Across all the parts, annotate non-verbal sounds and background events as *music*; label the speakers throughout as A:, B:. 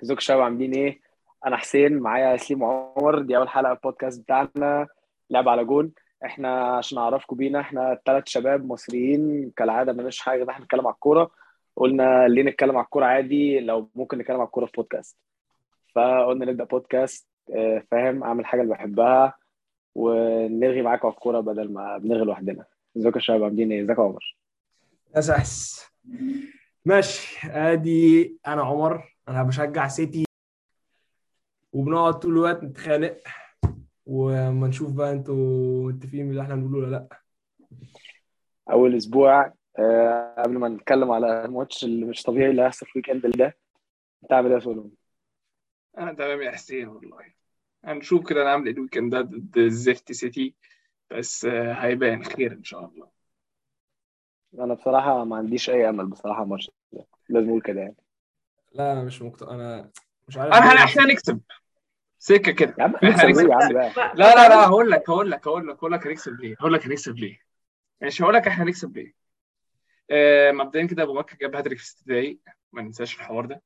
A: زوج شباب عاملين ايه انا حسين معايا سليم عمر دي اول حلقه البودكاست بتاعنا لعب على جون احنا عشان اعرفكم بينا احنا ثلاث شباب مصريين كالعاده مالناش حاجه غير إن احنا نتكلم على الكوره قلنا ليه نتكلم على الكوره عادي لو ممكن نتكلم على الكوره في بودكاست فقلنا نبدا بودكاست آه، فاهم اعمل حاجه اللي بحبها ونلغي معاكم على الكوره بدل ما بنلغي لوحدنا ازيكم يا شباب عاملين ايه ازيك يا عمر
B: بس احس ماشي ادي انا عمر انا بشجع سيتي وبنقعد طول الوقت نتخانق وما نشوف بقى انتوا متفقين باللي احنا بنقوله ولا لا
A: اول اسبوع آه، قبل ما نتكلم على الماتش اللي مش طبيعي اللي هيحصل في الويك اند اللي ده انت عامل ايه يا سولو؟
C: انا تمام يا حسين والله هنشوف كده انا عامل ايه الويكند ده ضد الزفت سيتي بس آه، هيبان خير ان شاء الله
A: انا بصراحه ما عنديش اي امل بصراحه الماتش ده لازم اقول كده يعني
B: لا انا مش مقتنع انا مش عارف
C: انا هن- احنا هنكسب سكه كده
A: يا عم
C: إحنا
A: هنكسب
C: هنكسب.
A: ايه يا عم بقى؟
C: لا لا لا هقول لك هقول لك هقول لك هقول لك هنكسب ليه هقول لك هنكسب ليه ماشي هقول لك احنا هنكسب ليه آه مبدئيا كده ابو مكه جاب هاتريك في ست دقايق ما ننساش الحوار ده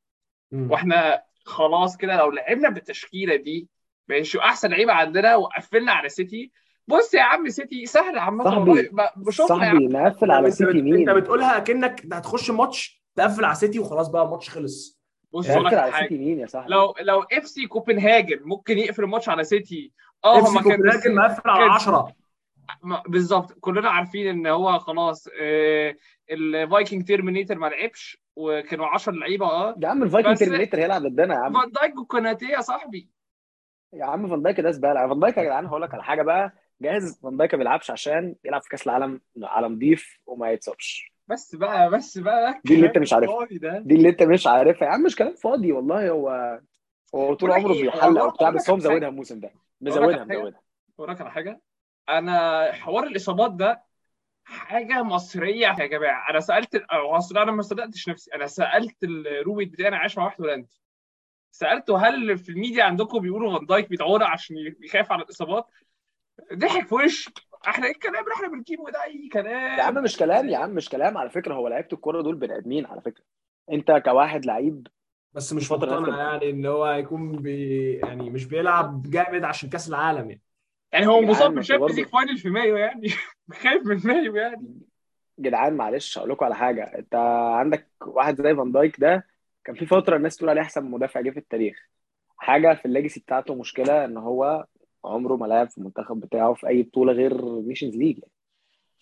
B: مم.
C: واحنا خلاص كده لو لعبنا بالتشكيله دي ماشي احسن لعيبه عندنا وقفلنا على سيتي بص يا عم سيتي سهل عامه
A: صاحبي-
C: والله ما- بشوفها يا عم
A: صاحبي نقفل على
B: انت بت-
A: سيتي مين؟
B: انت بتقولها كأنك ده هتخش ماتش تقفل على سيتي وخلاص بقى الماتش خلص
C: بص هقول لك
A: نقفل على
C: حاجه
A: سيتي مين يا صاحبي؟
C: لو لو اف سي كوبنهاجن ممكن يقفل الماتش على سيتي
A: آه،
C: اه
B: اف سي
C: هما
B: كوبنهاجن
C: كانوا
B: مقفل على
C: كان-
B: 10
C: ما- بالظبط كلنا عارفين ان هو خلاص آه الفايكنج تيرمينيتر ما لعبش وكانوا 10 لعيبه اه
A: يا عم الفايكنج
C: بس-
A: ترمينيتر هيلعب ضدنا يا عم
C: فان دايك وكوناتيه يا صاحبي
A: يا عم فان دايك ده زباله فان دايك يا جدعان هقول لك على حاجه بقى جاهز فان دايك ما بيلعبش عشان يلعب في كاس العالم على نضيف وما يتصابش
C: بس بقى بس بقى
A: دي اللي انت مش
C: *laughs*
A: عارفها.
C: الفاضي ده
A: دي اللي انت مش عارفها يا عم مش كلام فاضي والله هو هو طول
C: بقول لك
A: عمره
C: ايه،
A: بيحلق
C: هو-
A: وبتاع
C: هقول لك
A: بس هو
C: على حاجة.
A: مزودها الموسم ده
C: على
A: مزودها
C: حاجة.
A: مزودها
C: اقول لك على حاجه انا حوار الاصابات ده حاجه مصريه يا جماعه انا سالت أو اصل انا ما صدقتش نفسي انا سالت الروميت بتاعي انا عايش مع واحد هولندي سالته هل في الميديا عندكم بيقولوا فان دايك بيتعور عشان يخاف على الاصابات ضحك في وشي احنا ايه الكلام اللي احنا بنجيبه ده اي كلام
A: يا عم مش كلام يا عم مش كلام على فكره هو لعيبه الكوره دول بني ادمين على فكره انت كواحد لعيب
B: بس مش
A: فترة
B: مقتنع
A: نازلة.
B: يعني ان هو هيكون بي يعني مش بيلعب جامد عشان كاس العالم يعني
C: يعني هو
A: يا
C: مصاب
A: عم
C: في
A: أنت
C: الشامبيونز
A: برضه-
C: ليج فاينل في مايو يعني *laughs* خايف من مايو يعني
A: جدعان معلش هقول لكم على حاجه انت عندك واحد زي فان دايك ده كان في فتره الناس تقول عليه احسن مدافع جه في التاريخ حاجه في الليجاسي بتاعته مشكله ان هو عمره ما لعب في المنتخب بتاعه في اي بطوله غير نيشنز ليج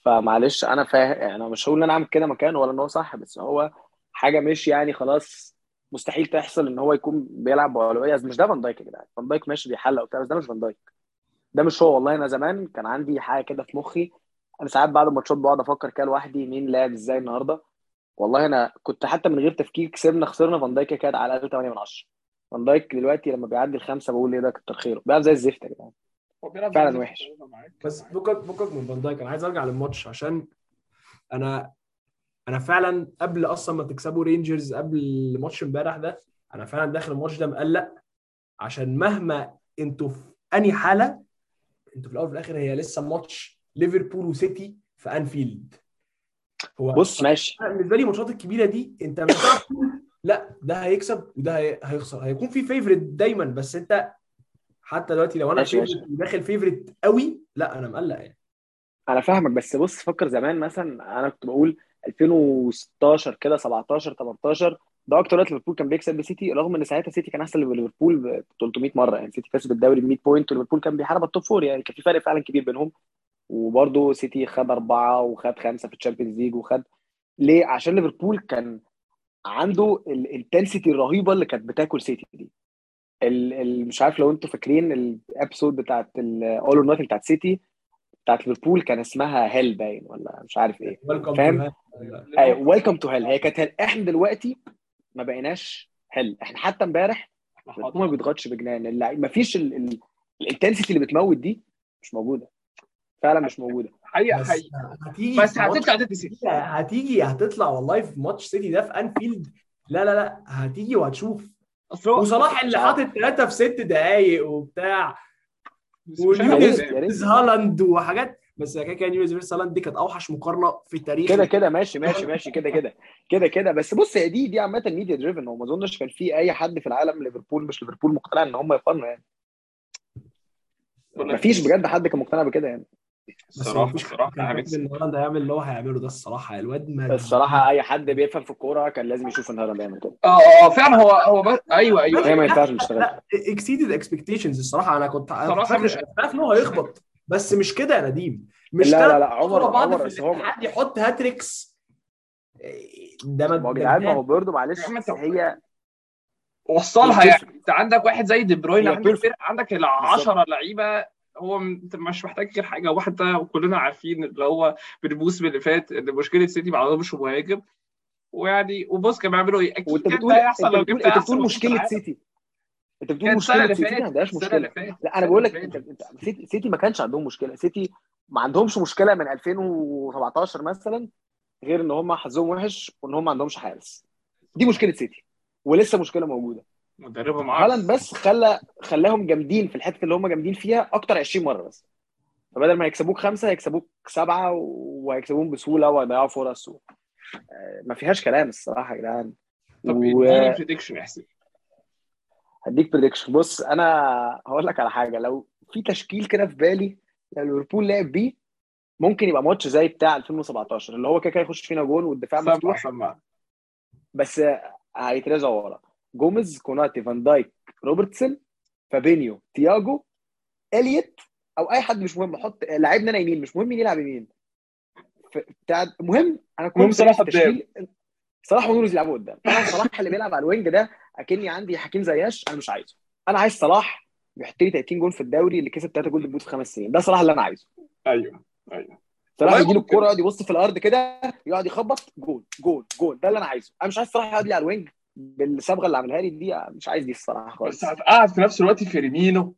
A: فمعلش انا فاهم يعني انا مش هقول ان انا اعمل كده مكانه ولا ان هو صح بس هو حاجه مش يعني خلاص مستحيل تحصل ان هو يكون بيلعب باولويه مش ده فان دايك يا جدعان فان دايك ماشي بيحلق وبتاع بس ده مش فان دايك ده مش هو والله انا زمان كان عندي حاجه كده في مخي انا ساعات بعد الماتشات بقعد افكر كده لوحدي مين لعب ازاي النهارده والله انا كنت حتى من غير تفكير كسبنا خسرنا فان دايك كده على الاقل 8 من 10 فان دايك دلوقتي لما بيعدي الخمسه بقول ايه ده كتر خيره بيلعب زي الزفت يا جدعان
C: هو بيلعب
A: فعلا
C: زي-
A: وحش.
C: معاك.
B: بس فكك فكك من فان دايك انا عايز ارجع للماتش عشان انا انا فعلا قبل اصلا ما تكسبوا رينجرز قبل ماتش امبارح ده انا فعلا داخل الماتش ده مقلق عشان مهما انتوا في اني حاله انتوا في الاول وفي الاخر هي لسه ماتش ليفربول وسيتي في انفيلد هو
A: بص ماشي
B: أنا بالنسبه لي الماتشات الكبيره دي انت مش هتعرف تقول لا ده هيكسب وده هي- هيخسر هيكون في فيفرت دايما بس انت حتى دلوقتي لو انا
A: ماشي، ماشي.
B: favorite وداخل فيفرت قوي لا انا مقلق يعني
A: انا فاهمك بس بص فكر زمان مثلا انا كنت بقول 2016 كده 17 18 ده اكتر وقت ليفربول كان بيكسب بسيتي رغم ان ساعتها سيتي كان احسن من ليفربول ب 300 مره يعني سيتي كسب الدوري ب 100 بوينت وليفربول كان بيحارب التوب فور يعني كان في فرق فعلا كبير بينهم وبرده سيتي خد اربعه وخد خمسه في الشامبيونز ليج وخد ليه؟ عشان ليفربول كان عنده الانتنسيتي الرهيبه اللي كانت بتاكل سيتي دي ال- ال- مش عارف لو انتوا فاكرين الابسود بتاعت اول اور نوتنج بتاعت سيتي بتاعت ليفربول كان اسمها هيل باين ولا مش عارف ايه
B: ويلكم
A: فاهم؟ ايوه
C: ليفربول-
A: ويلكم تو هيل هي كانت هيل احنا دلوقتي ما بقيناش هيل احنا حتى امبارح
C: حاضر.
A: الحكومه ما بيضغطش بجنان اللعيب ما فيش الانتنسيتي اللي بتموت دي مش موجوده فعلا مش موجوده
C: حقيقه حقيقه
B: هتيجي
C: بس
B: في ماتش
C: هتطلع ضد سيتي
B: هتيجي هتطلع والله في ماتش سيتي ده في انفيلد لا لا لا هتيجي وهتشوف
C: اصل هو
B: وصلاح اللي
A: مش
B: حاطط ثلاثه في ست دقايق وبتاع
C: مش عارف
A: يا ريت
B: واليوتيوب *laughs*
C: إزاي.
A: يا ريت
B: هالاند وحاجات بس كده كده يونيفرسال هالاند دي كانت اوحش مقارنه في تاريخ
A: كده كده ماشي ماشي ماشي كده كده كده كده بس بص هي دي دي عامه ميديا دريفن هو ما اظنش كان في اي حد في العالم ليفربول مش ليفربول مقتنع ان هم يقارنوا يعني ما فيش بجد حد كان مقتنع بكده يعني
B: بس
C: الصراحه
B: مفيش كان
C: الصراحه
B: فاكر
C: عامل-
B: ان هالاند هيعمل اللي هو هيعمله ده الصراحه الواد ما
A: الصراحه اي حد بيفهم في الكوره كان لازم يشوف ان هالاند بيعمل كده
C: اه اه فعلا هو هو بس ايوه ايوه
A: هي ما ينفعش نشتغل
B: لا اكسيدد اكسبكتيشنز الصراحه انا كنت انا كنت
C: الصراحة
B: فاكر
C: مش-
B: أنا عارف ان هو هيخبط بس مش كده يا نديم مش
A: لا لا
B: تلات
A: لا عمر
B: مرة بعض
A: عمر
B: في
A: بس هو
B: الاتحاد يحط هاتريكس ده ما
A: ما هو يا جدعان ما هو برضه معلش
C: يا عم أنت-
A: هي
C: وصلها يعني انت عندك واحد زي دي بروين
A: هي
C: عندك
A: perfect.
C: فرق عندك ال 10 لعيبه هو م- انت مش محتاج غير حاجه واحده وكلنا عارفين اللي هو من الموسم اللي فات ان مشكله سيتي ما عندهمش مهاجم ويعني وبص كانوا بيعملوا ايه اكيد
A: وانت
C: كان
A: بتقول
C: ده
A: انت
C: هيحصل لو
A: بتقول انت
C: جبت احسن
A: بتقول
C: هجوم في
A: مشكله
C: العالم.
A: سيتي انت بتقول
C: كان السنه
A: مشكله
C: اللي
A: سيتي دي ما
C: فاتت
A: عندهاش
C: السنه
A: مشكله
C: اللي فاتت
A: لا انا بقول لك
C: السنة
A: انت
C: اللي
A: انت- سيتي سيتي ما كانش عندهم مشكله سيتي ما عندهمش مشكله من 2017 مثلا غير ان هم حظهم وحش وان هم ما عندهمش حارس دي مشكله سيتي ولسه مشكله موجوده
C: مدربهم عارف
A: هالاند بس خلى خلاهم جامدين في الحته اللي هم جامدين فيها اكتر 20 مره بس فبدل ما يكسبوك خمسه هيكسبوك سبعه وهيكسبوهم بسهوله وهيضيعوا فرص و... آه، ما فيهاش كلام الصراحه يا جدعان
C: طب
A: و-
C: اديني بريدكشن احسن
A: هديك بريدكشن بص انا هقول لك على حاجه لو في تشكيل كده في بالي لو ليفربول لعب بيه ممكن يبقى ماتش زي بتاع 2017 اللي هو كده كده يخش فينا جون والدفاع
C: سبعه
A: مفتوح
C: سبعه
A: بس هيترزعوا ورا جوميز كوناتي فان دايك روبرتسون فابينيو تياجو اليت او اي حد مش مهم حط لعيبنا انا يمين مش مهم مين يلعب يمين ف- بتاع المهم انا كنت
C: المهم صلاح
A: في
C: قدام.
A: التشكيل- صلاح ونورز يلعبوا قدام انا صلاح اللي بيلعب على الوينج ده اكني عندي حكيم زياش انا مش عايزه انا عايز صلاح يحط لي 30 جول في الدوري اللي كسب 3 جول للبوت في خمس سنين ده صلاح اللي انا عايزه
C: ايوه ايوه
A: صلاح
C: والله
A: يجي له
C: ممكن.
A: الكوره يقعد يبص في الارض كده يقعد يخبط جول جول جول ده اللي انا عايزه انا مش عايز صلاح يقعد لي على الوينج بالصبغه اللي عملها لي دي مش عايز دي الصراحه
C: بس
A: خالص
C: هتقعد في نفس الوقت فيرمينو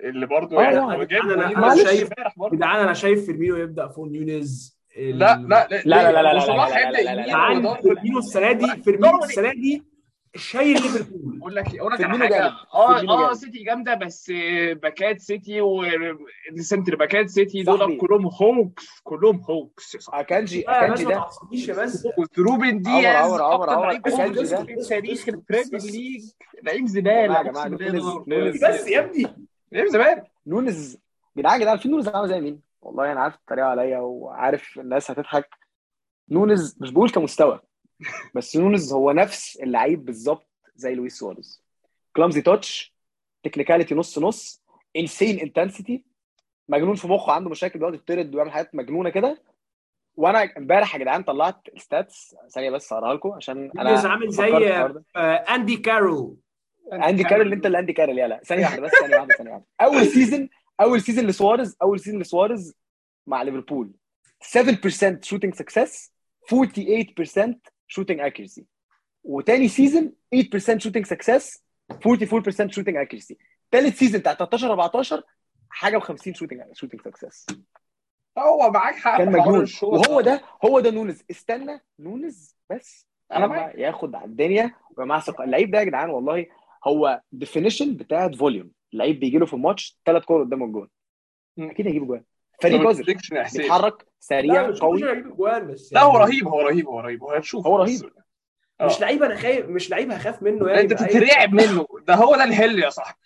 C: اللي برضه
A: آه،
C: يعني
A: لا،
C: هو جايب
B: أنا- أنا
C: جولين
A: معلش.
C: امبارح برضه.
B: يا جدعان انا شايف فيرمينو يبدا فوق يونيز ال-
C: لا لا لا
A: لا، لا، لا، لا،
C: وصلاح
A: لا، لا،
C: هيبدأ
A: لا، لا، لا، لا، لا،
B: يا
C: يمين
B: جدعان
A: لا،
C: وضرب ال-
B: فيرمينو السنه دي فيرمينو
C: ضرب
B: السنه دي شايل ليفربول
C: اقول لك اقول لك على
A: فيرمينو
C: حاجه
A: جامد.
C: اه
A: فيرمينو
C: اه
A: جامد.
C: سيتي جامده بس آه، باكات سيتي والسنتر باكات سيتي دول
A: صاحبي.
C: كلهم هوكس كلهم هوكس يا صاحبي
A: اكانجي
B: لا يا باشا
A: اكانجي
B: ما
A: ده
B: تعصبنيش يا بس
C: وروبن
A: عمر،
C: دياز
A: عمر، عمر،
C: اكتر
A: عمر،
C: لعيب
A: أكانجي
C: أسود
A: ده.
C: في تاريخ
B: بس-
C: البريمير
B: بس-
C: ليج لعيب
A: يا
C: زباله
A: جماعة، يا
C: أقسم
A: جماعة،
C: بالله
A: نونيز-
C: ضرب.
A: نونيز-
B: بس يا ابني
C: لعيب زباله
A: نونز جدعان جدعان في نونز عامل زي مين؟ والله انا عارف الطريقه عليا وعارف الناس هتضحك نونز مش بقول كمستوى بس نونز هو نفس اللعيب بالظبط زي لويس سواريز كلامزي تاتش تكنيكاليتي نص نص انسين انتنسيتي مجنون في مخه عنده مشاكل بيقعد يطرد ويعمل حاجات مجنونه كده وانا امبارح يا جدعان طلعت الستاتس ثانيه بس هقراها لكم عشان انا
B: نونيز عامل زي-
A: فكرت في الحوار ده.
B: آه، اندي كارول
A: اندي كارول اللي انت اللي اندي كارول يلا ثانيه واحده بس ثانيه واحده ثانيه واحده اول سيزون اول سيزون لسواريز اول سيزون لسواريز مع ليفربول 7% شوتنج سكسس 48% شوتنج اكيرسي وتاني سيزون 8% شوتنج سكسس 44% شوتنج اكيرسي تالت سيزون بتاع 13 14 حاجه و50 شوتنج شوتنج سكسس
C: هو معاك حق
A: كان
C: في حوار
A: مجنون
C: الشوط
A: وهو ده هو ده نونز استنى نونز بس
C: أنا
A: انا
C: معاك.
A: ياخد على الدنيا ومع ثقه اللعيب ده يا جدعان والله هو ديفينيشن بتاعت فوليوم اللعيب بيجي له في الماتش ثلاث كور قدام الجون
C: مم.
A: اكيد هيجيب جول
C: طب
A: فريق قذر
C: prediction يا حسين.
A: بيتحرك
B: لا
A: سريع
B: مش
A: قوي
B: مش هيجيب جوان بس
C: لا هو
B: يعني.
C: رهيب هو رهيب هو رهيب وهتشوف
A: هو رهيب.
C: بس-
B: مش لعيب انا خايف مش لعيب هخاف منه يعني
C: انت
B: بأي-
C: بتترعب منه ده هو ده الهل يا صاحبي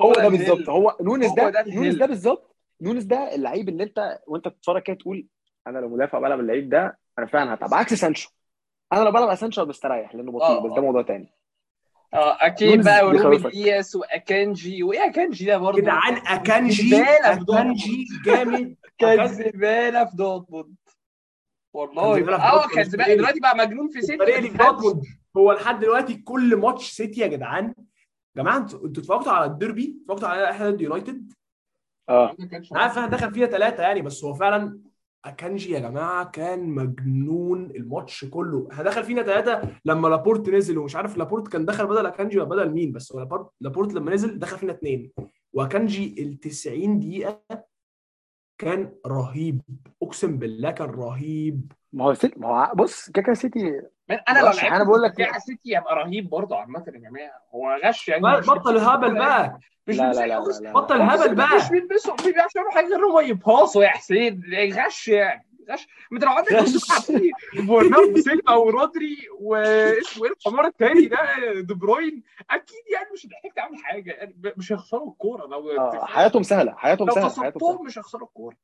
A: هو ده
C: الهل.
A: بالظبط هو نونز
C: هو ده
A: ده
C: الهيل.
A: نونز ده بالظبط نونز ده اللعيب اللي انت وانت بتتفرج كده تقول انا لو مدافع بلعب اللعيب ده انا فعلا هتعب عكس سانشو انا لو بلعب على سانشو أنا بستريح لانه بطيء
C: آه،
A: بس
C: آه.
A: ده موضوع تاني
C: اه اكيد
A: نونز
C: بقى وروبن
A: بيخوفك.
C: دياس واكانجي وايه اكانجي ده برضه
B: جدعان اكانجي
C: زبالة في دورتموند.
B: اكانجي جامد
C: كان
B: أكانجي-
C: زباله في دورتموند
B: كان
C: والله
B: زبالة في
C: اه
B: دورتموند.
C: كان زباله دلوقتي بقى مجنون في *laughs* سيتي
B: الفريق اللي في دورتموند هو لحد دلوقتي كل ماتش سيتي يا جدعان جماعه انتوا انتوا اتفرجتوا على الديربي اتفرجتوا على احنا ضد يونايتد
A: اه
B: انا عارف انا دخل فيها ثلاثه يعني بس هو فعلا اكانجي يا جماعه كان مجنون الماتش كله هدخل فينا ثلاثه لما لابورت نزل ومش عارف لابورت كان دخل بدل اكانجي ولا بدل مين بس هو لابورت لابورت لما نزل دخل فينا اثنين واكانجي ال 90 دقيقه كان رهيب اقسم بالله كان رهيب
A: ما هو سيتي ما هو ع- بص كده كده سيتي
C: من انا لو
A: معرفش،
C: لعبت
A: أنا بقول لك-
C: بتاع سيتي هبقى رهيب برضه عامه يا جماعه هو غش يعني مش-
B: بطل الهبل بقى
C: مش
A: لا لا
C: بيمسك
A: لا
C: كورس.
A: لا, لا.
B: بطل الهبل
C: مش
B: بقى
C: بيلبسوا ما بيعرفش يعملوا حاجه غير هم يباصوا يا حسين غش يعني غش ما انت لو عندك مدافع برنابو سيلفا ورودري واسمه ايه الحمار التاني ده دي بروين اكيد يعني مش هتحتاج تعمل حاجه يعني ب- مش هيخسروا الكوره لو
A: آه حياتهم سهله حياتهم
C: لو
A: سهله حياتهم سهله
C: كسبتهم مش هيخسروا الكوره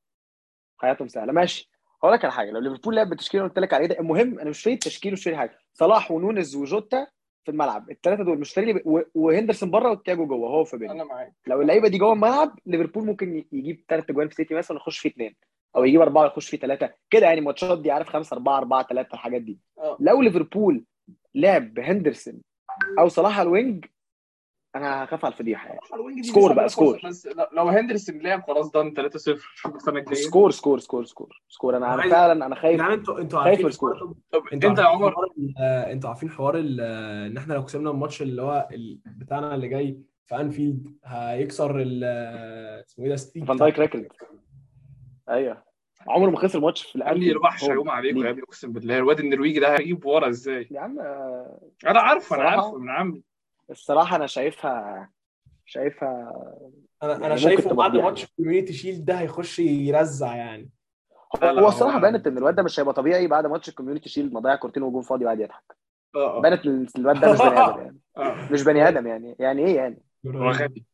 A: حياتهم سهله ماشي هقول لك على حاجه لو ليفربول لعب بالتشكيل اللي قلت لك عليه ده المهم انا مش شاري التشكيل ومش شاري حاجه صلاح ونونز وجوتا في الملعب الثلاثه دول مش شاري لي- و- وهندرسون بره وتياجو جوه هو فابينيو
C: انا معاك
A: لو اللعيبه دي جوه الملعب ليفربول ممكن ي- يجيب ثلاث اجوان في سيتي مثلا ويخش فيه اثنين او يجيب اربعه ويخش فيه ثلاثه كده يعني الماتشات دي عارف 5 4 4 3 الحاجات دي
C: آه.
A: لو ليفربول لعب بهندرسون او صلاح على الوينج انا هخاف على الفضيحه يعني
C: صراحة الوينج دي
A: سكور
C: مش
A: بقى،
C: عارف
A: سكور.
C: يخسر، بس لو- لو هندرسون لعب خلاص ده 3-0 شوف السنه الجايه
A: سكور سكور سكور سخور سكور انا انا
B: عايز-
A: فعلا انا
B: يا
A: خايف
B: جدعان انتوا انتوا
A: خايف
B: عارفين
A: السكور.
B: حوار-
C: طب
B: انتوا
C: انت يا
B: عارفين
C: عمر
B: حوار ال- آه، انتوا عارفين حوار ال- آه، ان احنا لو كسبنا الماتش اللي هو ال- بتاعنا اللي جاي في انفيلد هيكسر ال- آه، اسمه ايه ده ستيك
A: فان دايك ريكورد ايوه عمره ما خسر ماتش في
C: قال لي
A: الانفيلد
C: الوحش هيقوم عليكم يا ابني اقسم بالله الواد النرويجي ده هيجيب ورا ازاي
A: يا عم آه،
C: انا عارفه انا
A: صراحة.
C: عارفه من عمي
A: الصراحه انا شايفها شايفها
B: انا
A: يعني
B: انا
A: ممكن
B: شايفه
A: تبقى
B: بعد
A: فضيحة.
B: ماتش الكوميونتي شيلد ده هيخش يرزع يعني
C: لا، لا،
A: هو
C: هو-
A: الصراحه بانت ان الواد ده مش هيبقى طبيعي بعد ماتش الكوميونتي شيلد ما ضيع كورتين وجون فاضي وقعد يضحك
C: اه اه
A: بانت ان الواد ده مش بني ادم
C: *laughs*
A: يعني *laughs*
C: اه
A: مش بني ادم يعني يعني ايه يعني
C: هو غبي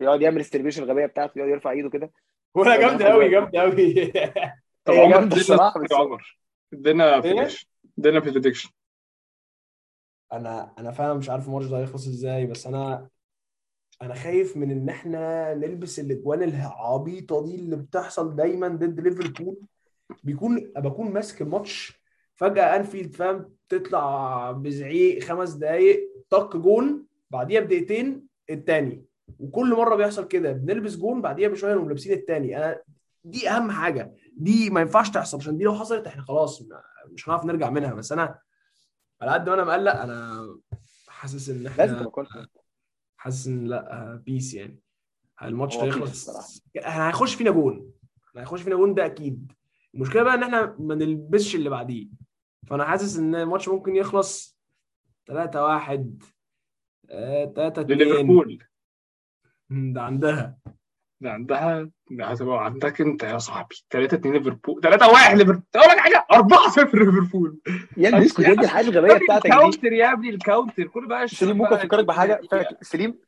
A: يقعد يعمل استربيشن الغبيه بتاعته يقعد يرفع ايده كده
B: ولا جامده قوي جامده قوي
C: طب
A: هي
C: عمر
A: جامده
C: ادينا
A: الصراحه بس إيه؟
C: يا عمر ادينا
B: ايه؟
C: بريدكشن ادينا بريدكشن
B: *laughs* انا انا فعلا مش عارف الماتش ده هيخلص ازاي بس انا انا خايف من ان احنا نلبس الاجوان العبيطه دي اللي بتحصل دايما ضد ليفربول بيكون بكون ماسك الماتش فجاه انفيلد فاهم تطلع بزعيق خمس دقايق طق جون بعديها بدقيقتين التاني وكل مره بيحصل كده بنلبس جون بعديها بشويه نقوم لابسين التاني انا دي اهم حاجه دي ما ينفعش تحصل عشان دي لو حصلت احنا خلاص ما- مش هنعرف نرجع منها بس انا على قد ما انا مقلق انا حاسس ان
A: لازم
B: احنا
A: تبقى كونفدنت
B: حاسس ان لا بيس يعني الماتش
A: هو
B: ده
A: peace
B: يخلص
A: الصراحة.
B: احنا هيخش فينا جون احنا هيخش فينا جون ده اكيد المشكله بقى ان احنا ما نلبسش اللي بعديه فانا حاسس ان الماتش ممكن يخلص آه، 3 1 3 2
C: لليفربول
B: ده عندها
C: ده عندها ده هتبقى عندك انت يا صاحبي 3 2 ليفربول 3 1 ليفربول اقول لك حاجه 4 0 ليفربول
A: يا ابني اسكت يا ابني الحاجات الغبيه بتاعتك دي
C: الكاونتر يا ابني الكاونتر كل بقى
A: سليم ممكن افكرك بحاجه فاكر سليم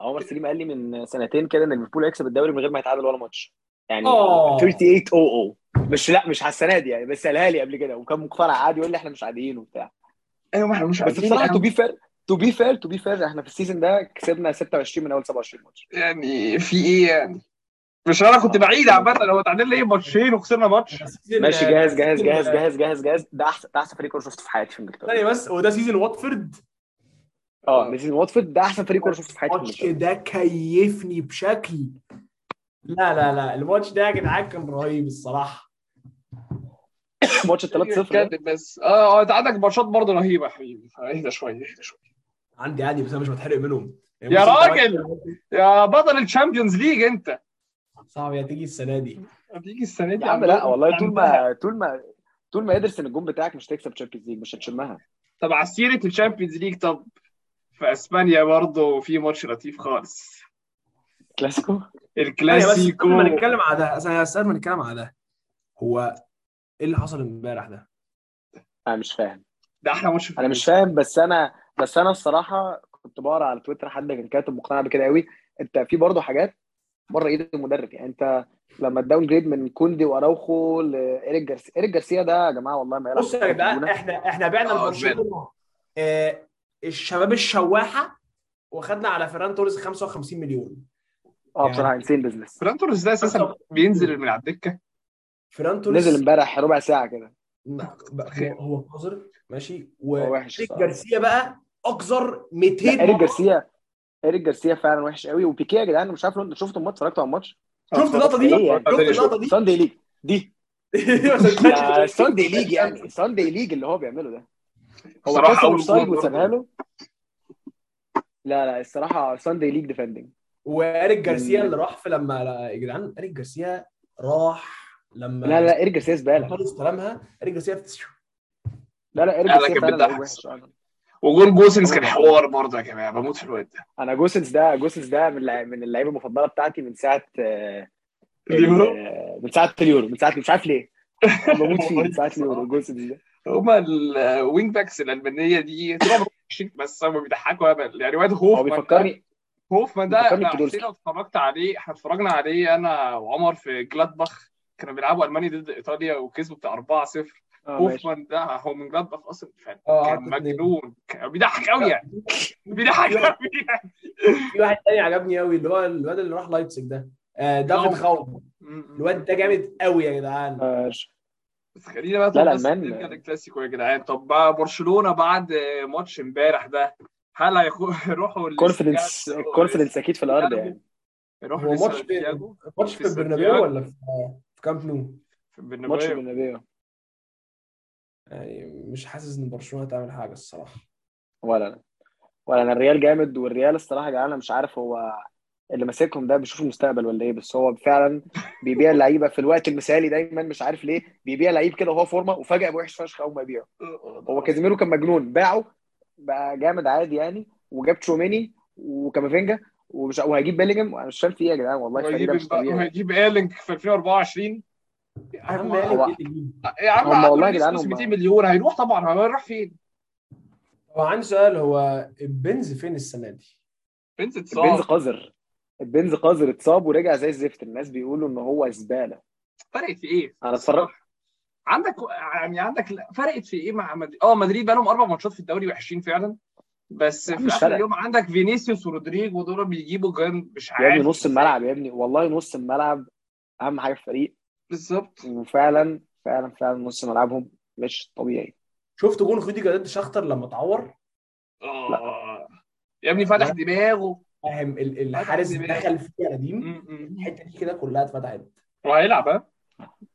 A: عمر اه، سليم قال لي من سنتين كده ان ليفربول هيكسب الدوري من غير ما يتعادل ولا ماتش يعني
B: آه.
A: 38 0 مش لا مش على السنه دي يعني بس قالها لي قبل كده وكان مقتنع عادي يقول لي احنا مش عاديين وبتاع
C: ايوه ما احنا مش
A: بس
C: عارفين
A: بصراحه تو
C: يعني-
A: بي فير تو بي فير تو بي فير احنا في السيزون ده كسبنا 26 من اول 27 ماتش
C: يعني في ايه يعني مش انا كنت بعيد عامه لو تعادلنا ايه ماتشين وخسرنا ماتش
B: آه،
A: ماشي جاهز جاهز جاهز جاهز جاهز جاهز إيه ده طيب. احسن ده احسن فريق كوره شفته في حياتي في انجلترا
B: ثانيه بس هو ده سيزون واتفورد
A: اه من سيزون واتفورد ده احسن فريق كوره شفته في حياتي في
B: الماتش
A: انجلترا
B: ده كيفني بشكل لا لا لا الماتش ده يا جدعان كان رهيب الصراحه
A: ماتش 3 0
C: كاتب بس اه اه انت عندك ماتشات برضه رهيبه يا حبيبي اهدى شويه اهدى شويه
B: عندي عادي بس انا مش متحرق منهم يعني
C: يا راجل! يا بطل الشامبيونز ليج انت
B: صعب يا تيجي السنه دي
C: هتيجي السنه دي
A: يا عم لا
C: عندنا-
A: والله طول
C: عندنا-
A: ما طول ما طول ما يدرس ان الجون بتاعك مش هتكسب تشامبيونز ليج مش هتشمها
C: طب على سيره الشامبيونز ليج طب في اسبانيا برضه في ماتش لطيف خالص
A: كلاسيكو
B: ثانية بس قبل
C: الكلاسيكو
B: ما نتكلم على ده أصل- بس قبل ما نتكلم على ده هو ايه اللي حصل امبارح ده؟
A: انا مش فاهم
C: ده احلى ماتش في
A: انا مش فاهم بس انا بس انا الصراحه كنت بقرا على تويتر حد كان كاتب مقتنع بكده قوي انت في برضه حاجات بره ايد المدرب يعني انت لما الداون جريد من كوندي واراوخو لايريك جارسيا ايريك جارسيا ده يا جماعه والله ما يلعب
B: بص يا جدعان احنا احنا بعنا
C: آه،
B: البرشلونه آه، الشباب الشواحه واخدنا على فيران توريس 55 مليون
A: اه بصراحه انسين بزنس
C: فران توريس ده اساسا بينزل من على الدكه
B: فيران توريس
A: نزل امبارح ربع ساعه كده
B: هو- هو قذر ماشي
A: هو
B: و
A: وحش
B: إيريك
A: الصراحة.
B: جارسيا بقى اقذر 200
A: لا، ايريك
B: مرة.
A: جارسيا ايريك جارسيا فعلا وحش قوي وبيكيه يا جدعان مش عارف لو انت شفتوا الماتش اتفرجتوا على الماتش
B: شفت اللقطه دي؟
A: إيه يعني؟
B: شفت اللقطه دي؟
A: ساندي ليج دي
B: *laughs* ما صدقتش.
A: *laughs* ساندي ليج يعني ساندي ليج اللي هو بيعمله ده هو
C: بصراحة
A: كسر
C: أول
A: الاوفسايد
C: جول
A: وسابها
C: برضه.
A: له لا لا الصراحه ساندي ليج ديفندنج
B: واريك جارسيا اللي راح في لما لا، يا جدعان اريك جارسيا راح لما
A: لا لا ارجع سياس بالك
B: خلص كلامها اريك جارسيا
A: لا لا ارجع
C: لا، كان
A: سيف انا لعيب
C: بيضحك
A: وحش أنا-
C: وجون جوسنس كان حوار برضه يا جماعه بموت في الواد ده
A: انا جوسنس ده جوسنس ده من اللع- من اللعيبه المفضله بتاعتي من ساعه آه،
C: اليورو؟
A: آه، من ساعه اليورو من ساعه مش عارف ليه بموت فيه من ساعه اليورو جوسنس ده
C: هما الوينج باكس الالمانيه دي طول عمرهم وحشين، بس هما بيضحكوا هبل يعني واد
A: هو
C: هوفمان ده-
A: بيفكرني
C: هوفمان ده
A: بيفكرني
C: أنا
A: بدولسكي.
C: حسين لو اتفرجت عليه احنا اتفرجنا عليه انا وعمر في جلادباخ كانوا بيلعبوا المانيا ضد ايطاليا وكسبوا بتاع 4-0
A: آه، ماشي.
C: هوفمان ده هو من جلادباخ اصلا فعلا
A: آه،
B: اه
C: كان
B: عدت اتنين.
C: مجنون كان بيضحك قوي يعني
B: *laughs*
C: بيضحك قوي يعني
B: في واحد تاني عجبني قوي اللي هو الواد اللي راح لايبسك ده آه، دافيد خاوب *laughs* الواد ده جامد قوي يا جدعان
A: آه،
C: بس خلينا بقى
A: لا،
C: طب
A: لا،
C: بس
A: مان.
C: نرجع للكلاسيكو يا جدعان طب بقى برشلونه بعد ماتش امبارح ده هل *laughs* هيروحوا
A: كونفدنس كونفدنس اكيد في الارض يعني
C: يروحوا
B: هو ماتش فين؟
C: لسانتياغو
B: ماتش
C: في
B: في البرنابيو
C: سانتياغو.
B: ولا في في كامب نو؟
C: في
A: ماتش
C: البرنابيو
A: بالنبيو
B: يعني مش حاسس ان برشلونه هتعمل حاجه الصراحه
A: ولا انا ولا انا الريال جامد والريال الصراحه يا جدعان انا مش عارف هو اللي ماسكهم ده بيشوف المستقبل ولا ايه بس هو فعلا بيبيع لعيبه في الوقت المثالي دايما مش عارف ليه بيبيع لعيب كده وهو فورمه وفجاه يبقى وحش فشخ اول ما يبيعه هو كازيميرو كان مجنون باعه بقى جامد عادي يعني وجاب تشوميني وكامافينجا ومش وهيجيب بيلينجهام انا مش فاهم في ايه يا جدعان والله الفريق
C: وهيجيب
A: ده مش طبيعي
C: وهيجيب ايرلينج في 2024 يا
B: يا عم
C: عم
B: مالك
A: هو-
B: ايه اللي يجيب؟
C: يا عم
A: هم
C: عنده
A: والله يا
C: لسه
A: جدعان هم-
C: 200 مليون هيروح طبعا هو هيروح فين؟
B: هو عندي سؤال هو البنز فين السنه دي؟
A: البنز
C: بنز اتصاب
A: قذر البنز قذر اتصاب ورجع زي الزفت الناس بيقولوا ان هو زباله
C: فرقت في ايه؟
A: انا اتفرجت
C: عندك يعني عندك لا، فرقت في ايه مع مدريد؟ اه مدريد بقى لهم اربع ماتشات في الدوري وحشين فعلا بس
A: يا عم
C: في
A: مش
C: اخر
A: فرق.
C: اليوم عندك فينيسيوس ورودريجو دول بيجيبوا جان مش
A: يا
C: عارف
A: ابني نص الملعب يا ابني والله نص الملعب اهم حاجه في الفريق
C: بالظبط
A: وفعلا فعلا فعلا نص ملعبهم مش طبيعي
B: شفت جون خديجا ضد شختر لما اتعور؟
C: اه يا ابني فتح
B: لا.
C: دماغه
B: فاهم ال-
A: أه،
B: الحارس دخل فيه قديم الحته دي كده كلها اتفتحت
C: وهيلعب ها؟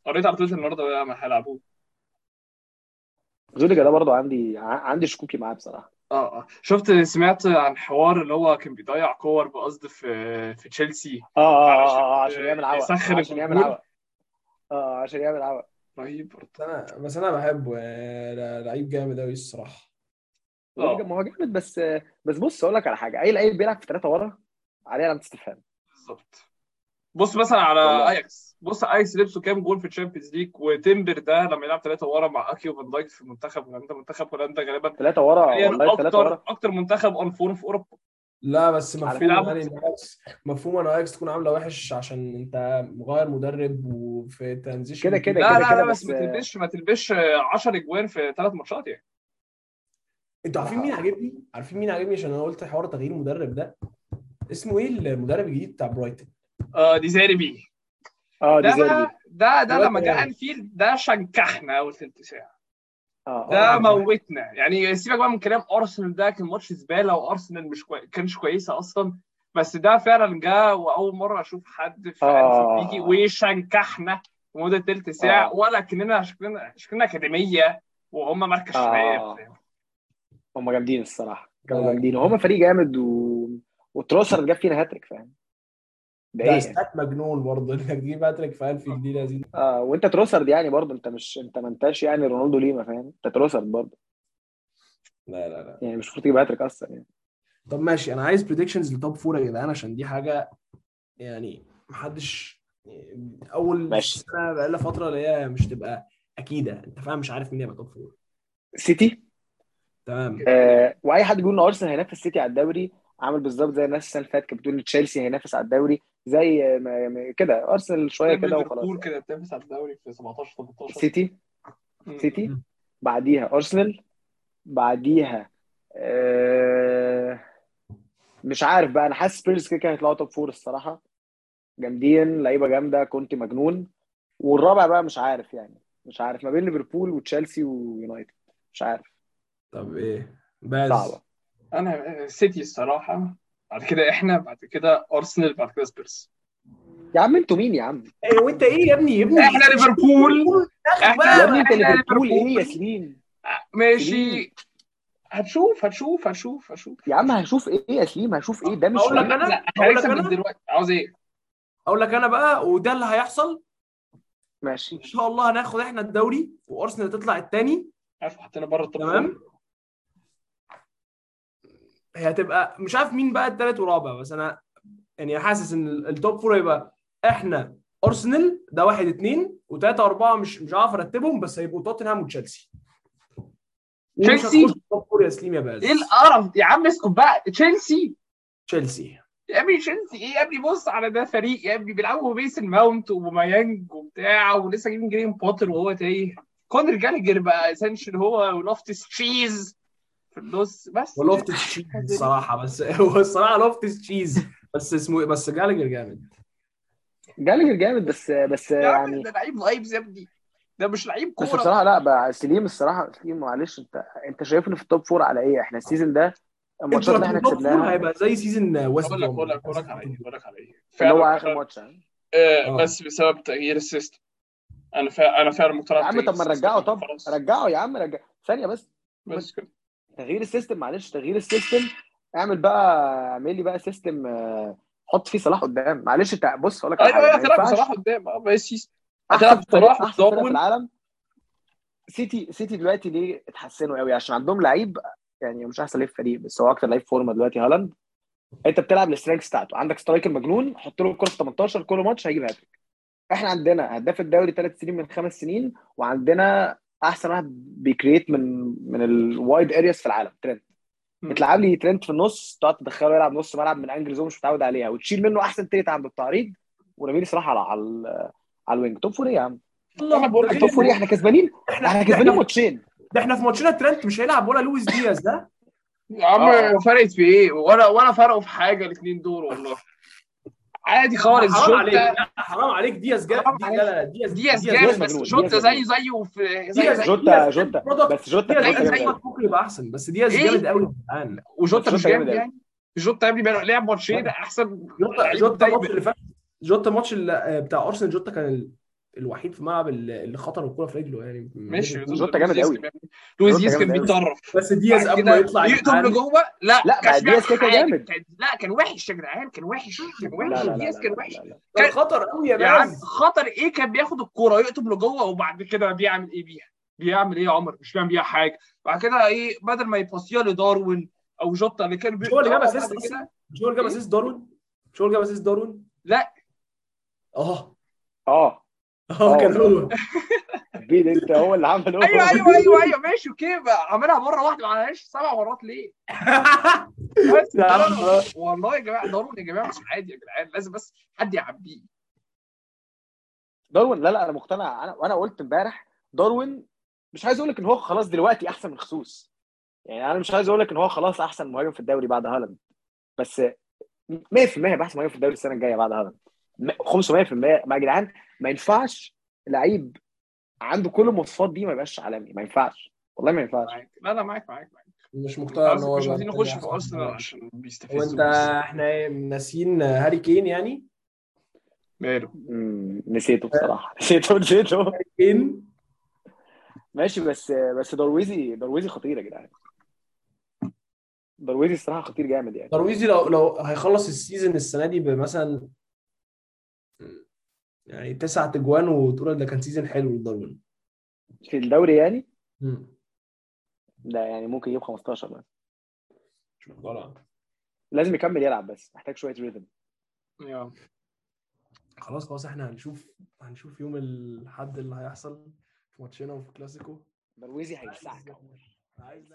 C: قريت على تويتر النهارده بقى ما هيلعبوه
A: زوديجا ده برضه عندي ع- عندي شكوكي معاه بصراحه
C: اه اه شفت سمعت عن حوار اللي هو كان بيضيع كور بقصد في في تشيلسي
A: اه اه اه,
C: علشان-
A: آه عشان يعمل عوق
C: يسخن
A: عشان يعمل
C: الجمهور.
A: عوق اه عشان يعمل عوق
C: رهيب
B: بس انا بس انا بحبه يعني لا- لعيب جامد قوي الصراحه
A: زوديجا ما هو جامد بس بس بص اقول لك على حاجه اي لعيب بيلعب في ثلاثه ورا عليه علامه استفهام
C: بالظبط بص مثلا على
A: والله.
C: اياكس بص اياكس لبسوا كام جول في الشامبيونز ليج وتمبر ده لما يلعب ثلاثه ورا مع اكيو فان دايك في منتخب هولندا منتخب هولندا غالبا
A: ثلاثه ورا
C: حاليا
A: والله ثلاثه
C: اكتر
A: ورا
C: اكتر منتخب اون فورم في اوروبا
B: لا بس
A: على
B: مفهوم
C: فكرة-
B: يعني ان اياكس مفهوم ان اياكس تكون عامله وحش عشان انت مغير مدرب وفي ترانزيشن
A: كده كده.
C: لا لا لا
A: بس-
C: بس ما تلبسش ما تلبسش 10 اجوان في ثلاث ماتشات يعني
B: انتوا عارفين مين عاجبني؟ عارفين مين عاجبني عشان انا قلت حوار تغيير مدرب ده اسمه ايه المدرب الجديد بتاع برايتن؟
C: آه دي زيربي
A: اه دي
C: ده
A: زيربي
C: بقى- ده ده
B: دلوقتي
C: لما جه
B: يعني.
C: انفيلد ده شنكحنا اول ثلث ساعه
A: اه
C: ده
A: آه.
C: موتنا يعني سيبك بقى من كلام ارسنال ده كان ماتش زباله وارسنال مش كوي... كانش كويسه اصلا بس ده فعلا جه واول مره اشوف حد في
A: آه.
C: آه. بيجي وشنكحنا لمده ثلث ساعه
A: آه.
C: ولا كاننا شكلنا شكلنا اكاديميه وهم مركز
A: آه.
C: شباب
A: هم جامدين الصراحه كانوا
B: آه.
A: جامدين وهم فريق جامد و... وتروسر جاب فينا هاتريك فاهم ده
B: ده
A: ايه
B: استات مجنون برضه *laughs* انك تجيب هاتريك في 1000 جديد يا زين
A: اه وانت تروسر يعني برضه انت مش انت ما انتش يعني رونالدو ليما فاهم انت تروسر برضه
B: لا لا لا
A: يعني مش المفروض تجيب هاتريك اصلا يعني
B: طب ماشي انا عايز بريدكشنز لتوب فور يا جدعان عشان دي حاجه يعني محدش اول
A: ماشي.
B: سنه بقالها فتره اللي هي مش تبقى اكيده انت فاهم مش عارف مين هيبقى توب فور
A: سيتي
B: تمام
A: آه واي حد بيقول ان ارسنال هينافس سيتي على الدوري عامل بالظبط زي الناس السنه اللي فاتت كانت بتقول ان تشيلسي هينافس على الدوري زي ما- ما- كده ارسنال شويه كده وخلاص
C: ليفربول كده بتنافس على الدوري في 17 18
A: سيتي سيتي
B: مم.
A: بعديها ارسنال بعديها آه، مش عارف بقى انا حاسس سبيرز كده كده هيطلعوا توب فور الصراحه جامدين لعيبه جامده كنت مجنون والرابع بقى مش عارف يعني مش عارف ما بين ليفربول وتشيلسي ويونايتد مش عارف
B: طب ايه بس
A: صعبه
C: انا سيتي الصراحه بعد كده احنا بعد كده ارسنال بعد كده سبيرس
A: يا عم انتوا مين يا عم؟
B: ايه وانت ايه يا ابني يا ابني
C: احنا ليفربول
A: يا
C: احنا
A: ابني انت
C: إحنا
A: ليفربول ايه يا سليم؟
C: ماشي هتشوف هتشوف هتشوف هتشوف
A: يا عم هشوف ايه يا سليم هشوف ايه ده مش
B: أقول لك
A: فريق.
B: أنا-
C: لا
B: أقول لك
C: هنكسب
B: أنا؟
C: من دلوقتي عاوز ايه؟
B: اقول لك انا بقى وده اللي هيحصل
A: ماشي
B: ان شاء الله هناخد احنا الدوري وارسنال تطلع الثاني
C: عارف حطينا بره التوب
B: تمام هي هتبقى مش عارف مين بقى التالت ورابع بس انا يعني حاسس ان ال- التوب فور هيبقى احنا ارسنال ده واحد اتنين وتلاته واربعه مش مش عارف ارتبهم بس هيبقوا توتنهام وتشيلسي ومش
C: تشيلسي؟
B: هتخش التوب فور يا سليم يا باز
C: ايه القرف يا عم اسكت بقى تشيلسي
B: تشيلسي
C: يا ابني تشيلسي ايه يا ابني بص على ده فريق يا ابني بيلعبوا بيس الماونت ومايانج وبتاع ولسه جايبين جرين بوتر وهو تايه كونر جالجر بقى اسنشن هو ولوفتس تشيز في النص بس
B: ولوفتس
C: *laughs*
B: تشيز الصراحه بس *laughs* هو الصراحه لوفتس تشيز بس اسمه إيه؟ بس جالجر جامد
A: جالجر جامد بس بس
C: يا عم
A: يعني
C: ده لعيب غايب يا ابني ده مش لعيب
A: بس
C: كوره
A: بصراحه لا بقى سليم الصراحه سليم معلش انت انت شايفنا في التوب فور على ايه؟ احنا السيزون ده الماتشات اللي احنا
B: التوب فور
A: كسبناها
B: هيبقى زي سيزون ويست
C: اقول لك اقول لك
B: بروم.
C: اقول لك على ايه اقول لك على ايه
A: اللي هو
C: فعلا
A: اخر ماتش يعني.
C: آه،
B: آه.
C: بس بسبب تغيير السيستم انا فعلا انا فعلا مقتنع
A: يا عم
C: بتغيير
A: طب ما
C: السيستم.
A: نرجعه طب
C: خلاص.
A: رجعه يا عم رجع ثانيه بس
C: بس كده
A: تغيير السيستم معلش تغيير السيستم اعمل بقى اعمل لي بقى سيستم آه، حط فيه صلاح قدام معلش انت بص اقول لك على
C: ايوه
A: حاجه
C: ايوه
A: ما
C: هتلعب
A: ينفعش
C: بصراحه قدام اه ماشي هتلعب
A: احسن فريق
C: بصلاح
A: احسن فريق في
C: وتدور.
A: العالم سيتي سيتي دلوقتي ليه اتحسنوا قوي عشان عندهم لعيب يعني مش احسن لعيب في الفريق بس هو اكتر لعيب فورمه دلوقتي هالاند انت بتلعب السترايكس بتاعته عندك سترايكر مجنون حط له الكره في 18 كل ماتش هيجيب هاتريك احنا عندنا هداف الدوري ثلاث سنين من خمس سنين وعندنا احسن واحد بيكريت من من الوايد ارياس في العالم ترند بتلعب لي ترند في النص تقعد تدخله يلعب نص ملعب من انجل زون مش متعود عليها وتشيل منه احسن تلت عند التعريض ونبيل صراحه على على, على الوينج توب فور ايه يا عم
C: انا بقول
B: إيه
C: لك
A: توب فور ايه احنا كسبانين احنا كسبانين ماتشين
B: ده احنا في ماتشنا ترنت مش هيلعب ولا لويس دياز ده
C: يا عم
A: آه.
C: فرقت في ايه ولا ولا فرقوا في حاجه الاثنين دول والله عادي خالص
B: حرام عليك
C: جوتا
B: لا، حرام عليك دياز جاب
C: حرام
B: لا لا دياز
C: دياز
A: دياز
C: جامد بس
A: مجنون،
C: جوتا
A: دياز
C: زيه
A: مجنون.
C: زيه في زيه
B: دياز
C: زيه
A: جوتا جوتا بس جوتا
B: دياز
C: زي-
B: زي
A: جامد
C: زي-
B: زي
A: أوي.
B: ممكن يبقى احسن بس دياز
C: إيه؟
B: جامد قوي الان
C: وجوتا
A: بس
C: مش
A: جوتا
C: جامد
A: جامد أوي.
C: يعني جوتا يا ابني بقى لعب ماتشين احسن
B: جوتا
C: لعيب
B: جوتا
C: دايما.
B: الماتش اللي فات جوتا الماتش اللي- آه، بتاع ارسنال جوتا كان ال- الوحيد في ملعب اللي اللي خطر الكوره في رجله يعني
C: ماشي
A: جوتا جامد
C: لويس
A: أوي.
C: يسكن يعني. لويس
A: جوتا
C: يسكن
A: جامد أوي.
C: بيتطرف
B: بس دياز
C: بعد
B: قبل
C: كده
B: ما يطلع يعني يا
C: يقطم
B: جدعان،
C: لجوه لا
A: لا،
C: كانش
A: ما دياز كده كده
C: بيعمل حاجة.
A: جامد.
C: كان- لا كان وحش يا جدعان كان وحش كان
A: لا لا
C: وحش
A: لا لا
C: دياز كان وحش
A: لا لا.
B: كان خطر قوي يا
C: يا عم
B: باز
C: خطر ايه كان بياخد الكوره يقطم لجوه وبعد كده بيعمل ايه بيها؟ بيعمل ايه يا عمر؟ مش بيعمل بيها حاجه، بعد كده ايه بدل ما يباصيها لداروين او جوتا اللي كان
B: مش هو اللي جاب
C: بيقطعها
B: اسيست
C: بعد كده.
B: اصلا مش هو اللي جاب
C: إيه؟
B: اسيست داروين مش هو اللي جاب اسيست داروين
C: لا
B: اه
A: اه
B: اه كان هو
A: بيد انت هو اللي عمله
C: ايوه ايوه ايوه ايوه ماشي اوكي بقى، عملها مره واحده ما عملهاش سبع مرات ليه؟ بس
B: يا عم،
C: داروين-
B: آه.
C: والله يا جماعه داروين يا جماعه مش عادي يا جدعان لازم بس حد يعبيه
A: داروين لا لا انا مقتنع انا وانا قلت امبارح داروين مش عايز اقول لك ان هو خلاص دلوقتي احسن من خصوص يعني انا مش عايز اقول لك ان هو خلاص احسن مهاجم في الدوري بعد هالاند بس 100% هيبقى احسن مهاجم في الدوري السنه الجايه بعد هالاند م- 500% ما يا جدعان ما ينفعش لعيب عنده كل المواصفات دي ما يبقاش عالمي ما ينفعش والله ما ينفعش
C: معاك لا لا معاك معاك معاك
B: *laughs* مش
C: مش
B: مقتنع ان هو
C: عايزين نخش في
B: أحسن.
C: ارسنال عشان بيستفزوا
B: هو انت
C: بس.
B: احنا ناسيين هاري كين يعني
C: ماله
A: مم، نسيته بصراحه *laughs* نسيته نسيته
B: هاري كين
A: ماشي بس بس درويزي درويزي خطير يا جدعان درويزي الصراحه خطير جامد يعني
B: ترويزي لو لو هيخلص السيزون السنه دي بمثلا يعني تسع تجوان وتقول ده كان سيزون حلو لداروين
A: في الدوري يعني ده يعني ممكن يجيب 15 مثلا
B: مش مقتنع.
A: لازم يكمل يلعب بس محتاج شويه ريتم
C: يلا
B: خلاص خلاص احنا هنشوف هنشوف يوم الاحد اللي هيحصل في ماتشنا وفي كلاسيكو
A: درويزي هيسعك
B: عايز